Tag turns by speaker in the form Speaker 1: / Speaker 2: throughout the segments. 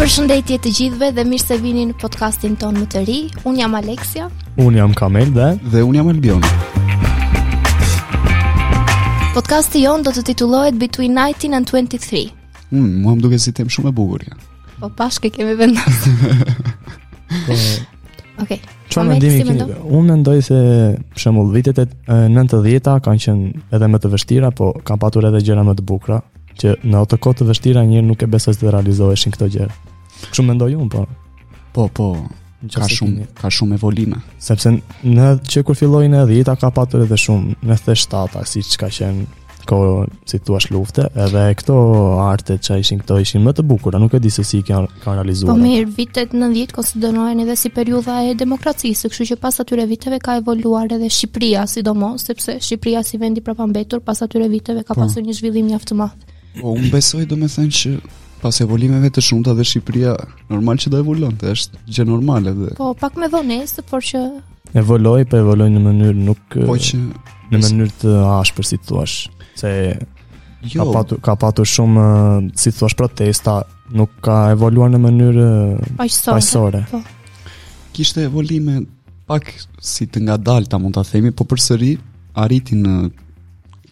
Speaker 1: Përshëndetje të gjithëve dhe mirë se vini në podcastin ton më të ri. Un jam Aleksia.
Speaker 2: Un jam Kamel dhe
Speaker 3: Dhe unë jam Albion.
Speaker 1: Podcasti jon do të titullohet Between 19 and 23.
Speaker 3: Mm, mua më duket si temë shumë e bukur kjo.
Speaker 1: Po bashkë e kemi vendosur.
Speaker 2: po
Speaker 1: Okej.
Speaker 2: çfarë
Speaker 1: Kamel,
Speaker 2: mendimi
Speaker 1: si
Speaker 2: keni?
Speaker 1: mendon?
Speaker 2: Unë mendoj se për shembull vitet e e 90-ta kanë qenë edhe më të vështira, po kanë patur edhe gjëra më të bukura që në ato kohë të vështira njëri nuk e besoj se të realizoheshin këto gjëra. Kështu mendoj unë, po.
Speaker 3: Po, po,
Speaker 2: në
Speaker 3: ka
Speaker 2: qoftë se
Speaker 3: shumë,
Speaker 2: keni-
Speaker 3: ka shumë evolime.
Speaker 2: sepse në që kur filloi në 10-ta ka patur edhe shumë në 7-ta, siç ka qenë kohë si thua lufte, edhe këto arte që ishin këto ishin më të bukura, nuk e di se si i kanë kanë
Speaker 1: Po
Speaker 2: realizuar.
Speaker 1: mirë, vitet 90 konsiderohen edhe si periudha e demokracisë, kështu që pas atyre viteve ka evoluar edhe Shqipëria, sidomos sepse Shqipëria si vend i prapambetur pas atyre viteve ka
Speaker 2: Po.
Speaker 1: pasur një zhvillim mjaft të madh.
Speaker 3: Po, unë besoj do me thënë që pas evolimeve të shumta dhe Shqipëria normal që do evolonte, është gjë normale dhe
Speaker 1: Po pak me vonesë, por që
Speaker 2: Evoloi, po evoloi në mënyrë nuk
Speaker 3: po që
Speaker 2: në mënyrë të ashpër si thua. Se
Speaker 3: jo,
Speaker 2: ka patur ka patur shumë ë, si thua protesta, nuk ka evoluar në mënyrë ë,
Speaker 1: paqësor.
Speaker 2: paqësore.
Speaker 1: Po.
Speaker 3: kishte evolime pak si të ngadalta mund ta themi, po përsëri arriti në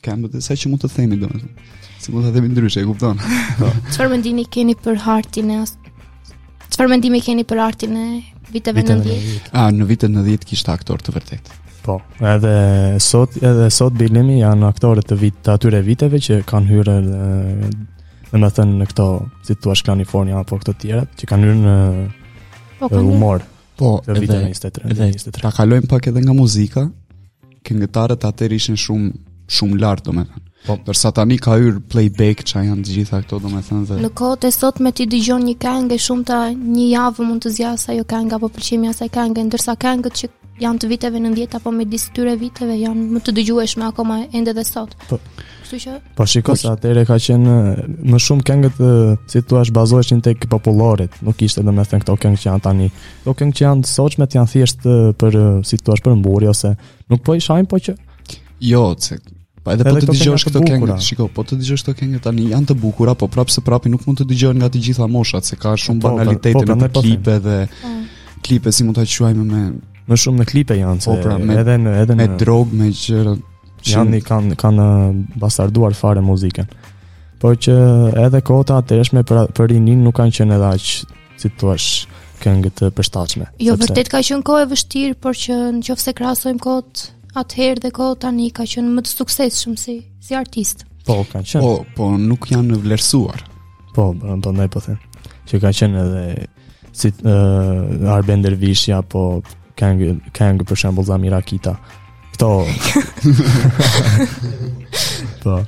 Speaker 3: këmbët e saj që mund të themi domethënë. Si mund ta themi ndryshe, e kupton?
Speaker 1: Çfarë mendimi keni për hartin e as- Çfarë mendimi keni për artin e viteve
Speaker 2: Viteve
Speaker 1: 90?
Speaker 2: 90.
Speaker 3: A në vitet 90 kishte aktor të vërtet.
Speaker 2: Po, edhe sot edhe sot Bilimi janë aktorë të vit të atyre viteve që kanë hyrë në në më thënë në këto, si thua Kalifornia apo këto tjera, që kanë hyrë në
Speaker 1: Po
Speaker 2: ë,
Speaker 1: kanë
Speaker 2: humor
Speaker 3: Po,
Speaker 2: të viteve 23
Speaker 3: edhe-
Speaker 2: 23.
Speaker 3: Ta kalojmë pak edhe nga muzika. Këngëtarët atëherë ishin shumë shumë lart, domethënë.
Speaker 2: Po.
Speaker 3: Po, ndërsa tani ka hyr playback, çka janë të gjitha këto, domethënë dhe
Speaker 1: Në kohët e sot me ti dëgjon një këngë e shumta një javë mund të zjas ajo këngë apo pëlqimi i asaj këngë, ndërsa këngët që janë të viteve 90 apo me disë tyre viteve janë më të dëgjueshme akoma ende dhe sot.
Speaker 2: Po.
Speaker 1: Kështu që
Speaker 2: Po shiko se atëre ka qenë ë, më shumë këngët ë, si thua bazoheshin tek populloret, nuk ishte domethënë këto këngë që janë tani. Këto këngë që janë të sotshme janë thjesht ë, për ë, si thua për mburje ose nuk po i shajm po që
Speaker 3: jo, se pa edhe,
Speaker 2: Edhe
Speaker 3: po të
Speaker 2: këto
Speaker 3: dëgjosh
Speaker 2: këngë të
Speaker 3: këto këngë,
Speaker 2: bukura.
Speaker 3: shiko, po të dëgjosh këto këngë tani janë të bukura, po prapë se prapi nuk mund të dëgjohen nga të gjitha moshat, se ka shumë
Speaker 2: Po, po,
Speaker 3: banalitete
Speaker 2: po, po,
Speaker 3: me
Speaker 2: po,
Speaker 3: të klipe dhe
Speaker 1: po,
Speaker 3: klipe si mund ta quajmë me
Speaker 2: më shumë në klipe janë se
Speaker 3: Po, pra, me-
Speaker 2: edhe në edhe
Speaker 3: me
Speaker 2: në
Speaker 3: drog, me gjëra që-
Speaker 2: janë i kanë kanë eh, bastarduar fare muzikën. Por që edhe kota atërshme për për rinin nuk kanë qenë edhe aq, si thua, këngë të përshtatshme.
Speaker 1: jo
Speaker 2: Sepse-
Speaker 1: vërtet ka qenë kohë e vështirë, por që nëse krahasojmë kohët atëherë dhe kohët tani ka qenë më të suksesshëm si si artist.
Speaker 2: Po, kanë qenë.
Speaker 3: Po, po nuk janë vlerësuar.
Speaker 2: Po, po ndaj po them. Që ka qenë edhe si uh, Arben Dervishi apo këngë këngë po për shembull Zamir Akita. Kto. po.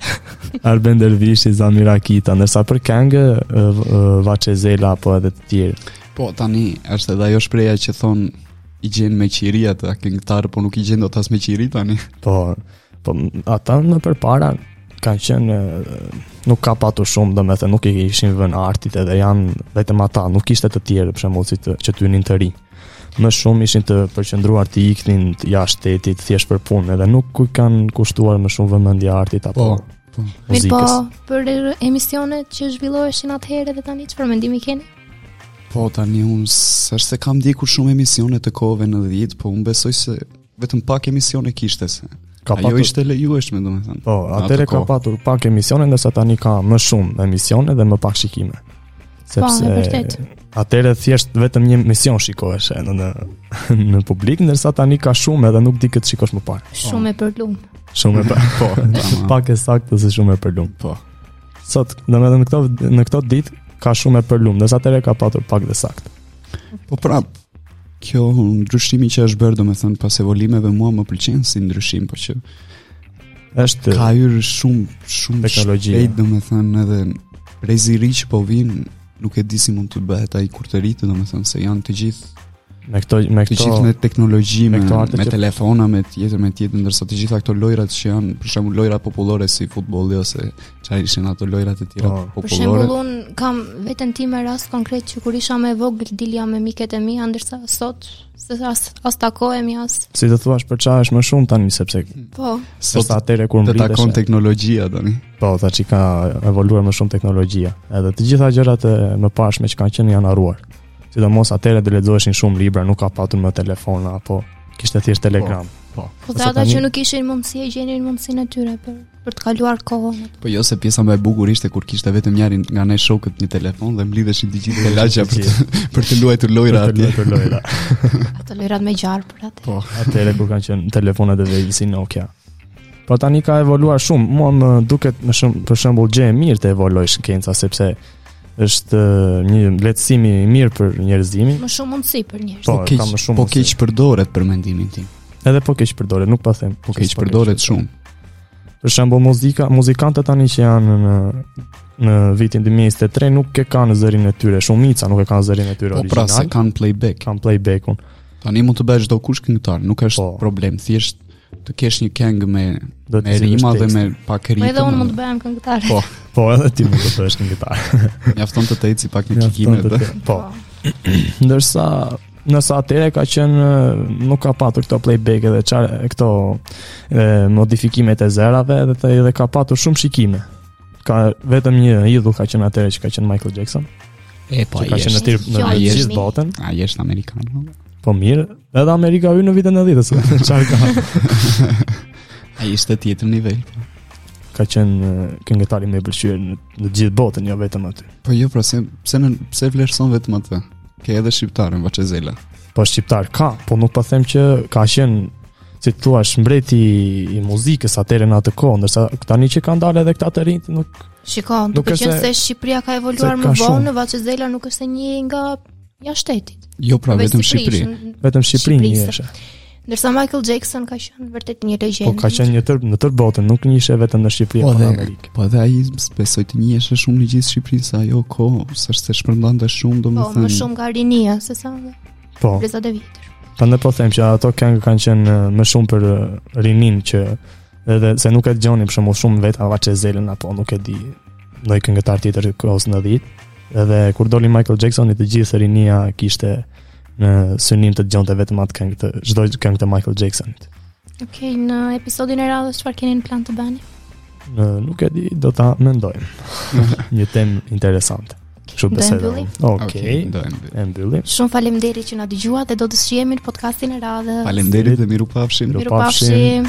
Speaker 2: Arben Dervishi, Zamir Akita, ndërsa për këngë uh, Vaçezela apo edhe të tjerë.
Speaker 3: Po tani është edhe ajo shpreha që thon i gjen me qiri ata këngëtarë, po nuk i gjen dot as me qiri tani.
Speaker 2: Po, po ata më përpara kanë qenë e, nuk ka patur shumë, domethënë nuk i kishin vënë artit edhe janë vetëm ata, nuk ishte të tjerë për shembull si të që të hynin të ri. Më shumë ishin të përqendruar të iknin të jashtë shtetit thjesht për punë edhe nuk i kanë kushtuar më shumë vëmendje artit apo
Speaker 3: Po, po.
Speaker 1: Mirë po,
Speaker 2: muzikës.
Speaker 1: për emisionet që zhvilloheshin atëherë dhe tani çfarë mendimi keni?
Speaker 3: Po tani unë s'është se kam ndjekur shumë emisione të kohëve në 10, po unë besoj se vetëm pak emisione kishte se.
Speaker 2: ka
Speaker 3: Ajo ishte lejueshme domethënë.
Speaker 2: Po,
Speaker 3: Në
Speaker 2: atëre
Speaker 3: atë
Speaker 2: ka
Speaker 3: kohë.
Speaker 2: patur pak emisione, ndërsa tani ka më shumë emisione dhe më pak shikime. Sepse
Speaker 1: e vërtet.
Speaker 2: atëre thjesht vetëm një emision shikohesh e, në në, në publik, ndërsa tani ka shumë edhe nuk di këtë shikosh më parë.
Speaker 1: Shumë e përlum.
Speaker 2: Shumë e pa,
Speaker 3: Po, tamam.
Speaker 2: pak e saktë se shumë e përlum.
Speaker 3: po.
Speaker 2: Sot, domethënë në këto në këto ditë ka shumë e përlum, ndërsa atëre ka patur pak dhe saktë.
Speaker 3: Po prap. Kjo ndryshimi që është bërë domethënë pas evolimeve mua më pëlqen si ndryshim, po që
Speaker 2: Është
Speaker 3: ka hyrë shumë shumë
Speaker 2: Teknologjia.
Speaker 3: shpejt domethënë edhe rezi ri që po vin nuk e di si mund të bëhet ai kur të rritë domethënë se janë të gjithë
Speaker 2: me këto me
Speaker 3: Të
Speaker 2: këto
Speaker 3: gjithë me teknologji,
Speaker 2: me
Speaker 3: me,
Speaker 2: këto artet
Speaker 3: me
Speaker 2: që-
Speaker 3: telefona, me tjetër, me tjetër, ndërsa të gjitha këto lojrat që janë, për shembull lojra popullore si futbolli ose çfarë ishin ato lojrat e tjera
Speaker 2: Po.
Speaker 1: Për shembull
Speaker 3: popullore.
Speaker 1: un kam veten time rast konkret që kur isha më e vogël dilja me miket e mia, ndërsa sot se as as takohemi as.
Speaker 2: si të thuash për çfarë është më shumë tani sepse
Speaker 1: Po,
Speaker 2: sot
Speaker 3: Sot
Speaker 2: atëre kur
Speaker 3: të takon
Speaker 2: mbritesh
Speaker 3: teknologjia tani.
Speaker 2: po tha që ka evoluar më shumë teknologjia edhe të gjitha gjërat e mëparshme që kanë qenë janë harruar sidomos atëre do lexoheshin shumë libra nuk ka patur më telefona apo kishte thjesht telegram
Speaker 1: po
Speaker 2: Ose
Speaker 1: dhe ata
Speaker 2: tani-
Speaker 1: që nuk ishin mundësi e gjenin mundësinë e tyre për për të kaluar kohën.
Speaker 3: Po jo se pjesa më e bukur ishte kur kishte vetëm njërin nga ne shokët një telefon dhe mblidheshin të gjithë lagja për të, për të luajtur lojra
Speaker 2: Për të
Speaker 3: atje.
Speaker 2: luajtur lojra.
Speaker 1: Ato lojrat me gjarë për atë.
Speaker 2: Po. Atëre kur kanë qenë telefonat e vegjësi Nokia. Po tani ka evoluar shumë. Mua më duket më shumë për shembull gjë e mirë të evoloj shkenca sepse është eh, një lehtësim i mirë për njerëzimin.
Speaker 1: Më shumë mundësi për njerëz.
Speaker 2: Po,
Speaker 3: Po keq,
Speaker 2: ka më shumë
Speaker 3: po
Speaker 2: mundësi.
Speaker 3: keq përdoret për mendimin tim.
Speaker 2: Edhe po keq përdoret, nuk pa them.
Speaker 3: Po keq përdoret shumë.
Speaker 2: Për shembull muzika, muzikantët tani që janë në në vitin 2023 nuk e kanë zërin e tyre, shumica nuk e kanë zërin e tyre
Speaker 3: Po pra se
Speaker 2: origjinal.
Speaker 3: kanë playback.
Speaker 2: kanë playback-un.
Speaker 3: Tani mund të bësh çdo kush këngëtar, nuk është
Speaker 2: Po.
Speaker 3: problem, thjesht të kesh një këngë me
Speaker 2: Do të
Speaker 3: me
Speaker 2: zgjidhësh
Speaker 3: rima dhe me
Speaker 2: tekstin.
Speaker 3: pak ritëm.
Speaker 1: Po edhe unë mund të bëhem këngëtare.
Speaker 3: Po,
Speaker 2: Po edhe ti mund të bësh një gitarë.
Speaker 3: Mjafton të të eci pak në kikime.
Speaker 2: Mjafton
Speaker 3: dhe-
Speaker 2: të të- Po, ndërsa nësa atëre ka qenë e, nuk ka patur këto playback edhe çfarë këto e, modifikimet e zerave edhe të, edhe ka patur shumë shikime. Ka vetëm një idhull ka qenë atëre që ka qenë Michael Jackson,
Speaker 3: E po,
Speaker 2: që ka
Speaker 3: ai
Speaker 2: qenë në
Speaker 3: është.
Speaker 2: tir në
Speaker 1: Ai
Speaker 2: në
Speaker 1: është.
Speaker 2: gjithë botën,
Speaker 3: Ai është amerikan. valla.
Speaker 2: po mirë, edhe Amerika hyn në vitin 90-s. Çfarë ka
Speaker 3: Ai është të tjetër nivel.
Speaker 2: ka qenë e, këngëtari më i pëlqyer në, në gjithë botën, jo vetëm aty.
Speaker 3: Po jo, pra se pse në pse vlerëson vetëm atë? Ke edhe shqiptarën Vaçezela.
Speaker 2: Po shqiptar ka, po nuk po them që ka qenë si të thua mbreti i muzikës atëre në atë kohë, ndërsa tani që kanë dalë edhe këta të rinj nuk
Speaker 1: Shiko,
Speaker 2: Nuk
Speaker 1: duke
Speaker 2: është
Speaker 1: qenë
Speaker 2: se-
Speaker 1: se Shqipëria ka evoluar
Speaker 2: se
Speaker 1: më
Speaker 2: ka shumë.
Speaker 1: vonë, Vaçezela nuk është se një nga jashtëtit.
Speaker 3: Jo, pra
Speaker 1: përveç
Speaker 3: vetëm
Speaker 1: Shqipërisë,
Speaker 3: Shqipëri.
Speaker 1: n-
Speaker 2: vetëm Shqipërinë
Speaker 1: Shqipërisë.
Speaker 2: njëshe.
Speaker 1: Ndërsa Michael Jackson ka qenë vërtet një legjendë.
Speaker 2: Po ka qenë një tër në tër botën, nuk njëshe vetëm në Shqipëri
Speaker 3: Po
Speaker 2: apo në
Speaker 3: dhe-
Speaker 2: Amerikë.
Speaker 3: Po edhe ai besoj të njiheshe shumë në gjithë Shqipërinë se ajo kohë s'është se shpërndante shumë,
Speaker 1: Po, më
Speaker 3: domethënë.
Speaker 1: shumë nga rinia, se sa nga
Speaker 2: Po,
Speaker 1: brezat e vjetër.
Speaker 2: prandaj po them që ato këngë kanë qenë eh, më shumë për eh, rinin që edhe se nuk e dëgjoni për shembull shumë vetë Avaçezelën apo nuk e di ndonjë këngëtar tjetër kohës 90. Edhe kur doli Michael Jacksoni të gjithë rinia kishte në synim të dëgjonte vetëm atë këngë të çdo këngë të Michael Jacksonit.
Speaker 1: Okej, në episodin e radhës çfarë keni në plan të bëni?
Speaker 2: Në, nuk e di, do ta mendojmë. një temë interesante. Kështu
Speaker 1: Do e
Speaker 2: besoj.
Speaker 1: mbyllim?
Speaker 2: Okej.
Speaker 3: ndajmë.
Speaker 2: E mbyllim.
Speaker 1: Shumë faleminderit që na dëgjuat dhe do të shihemi në podcastin e radhës.
Speaker 3: Faleminderit dhe miru pafshim.
Speaker 2: Miru
Speaker 1: Mirupafshim.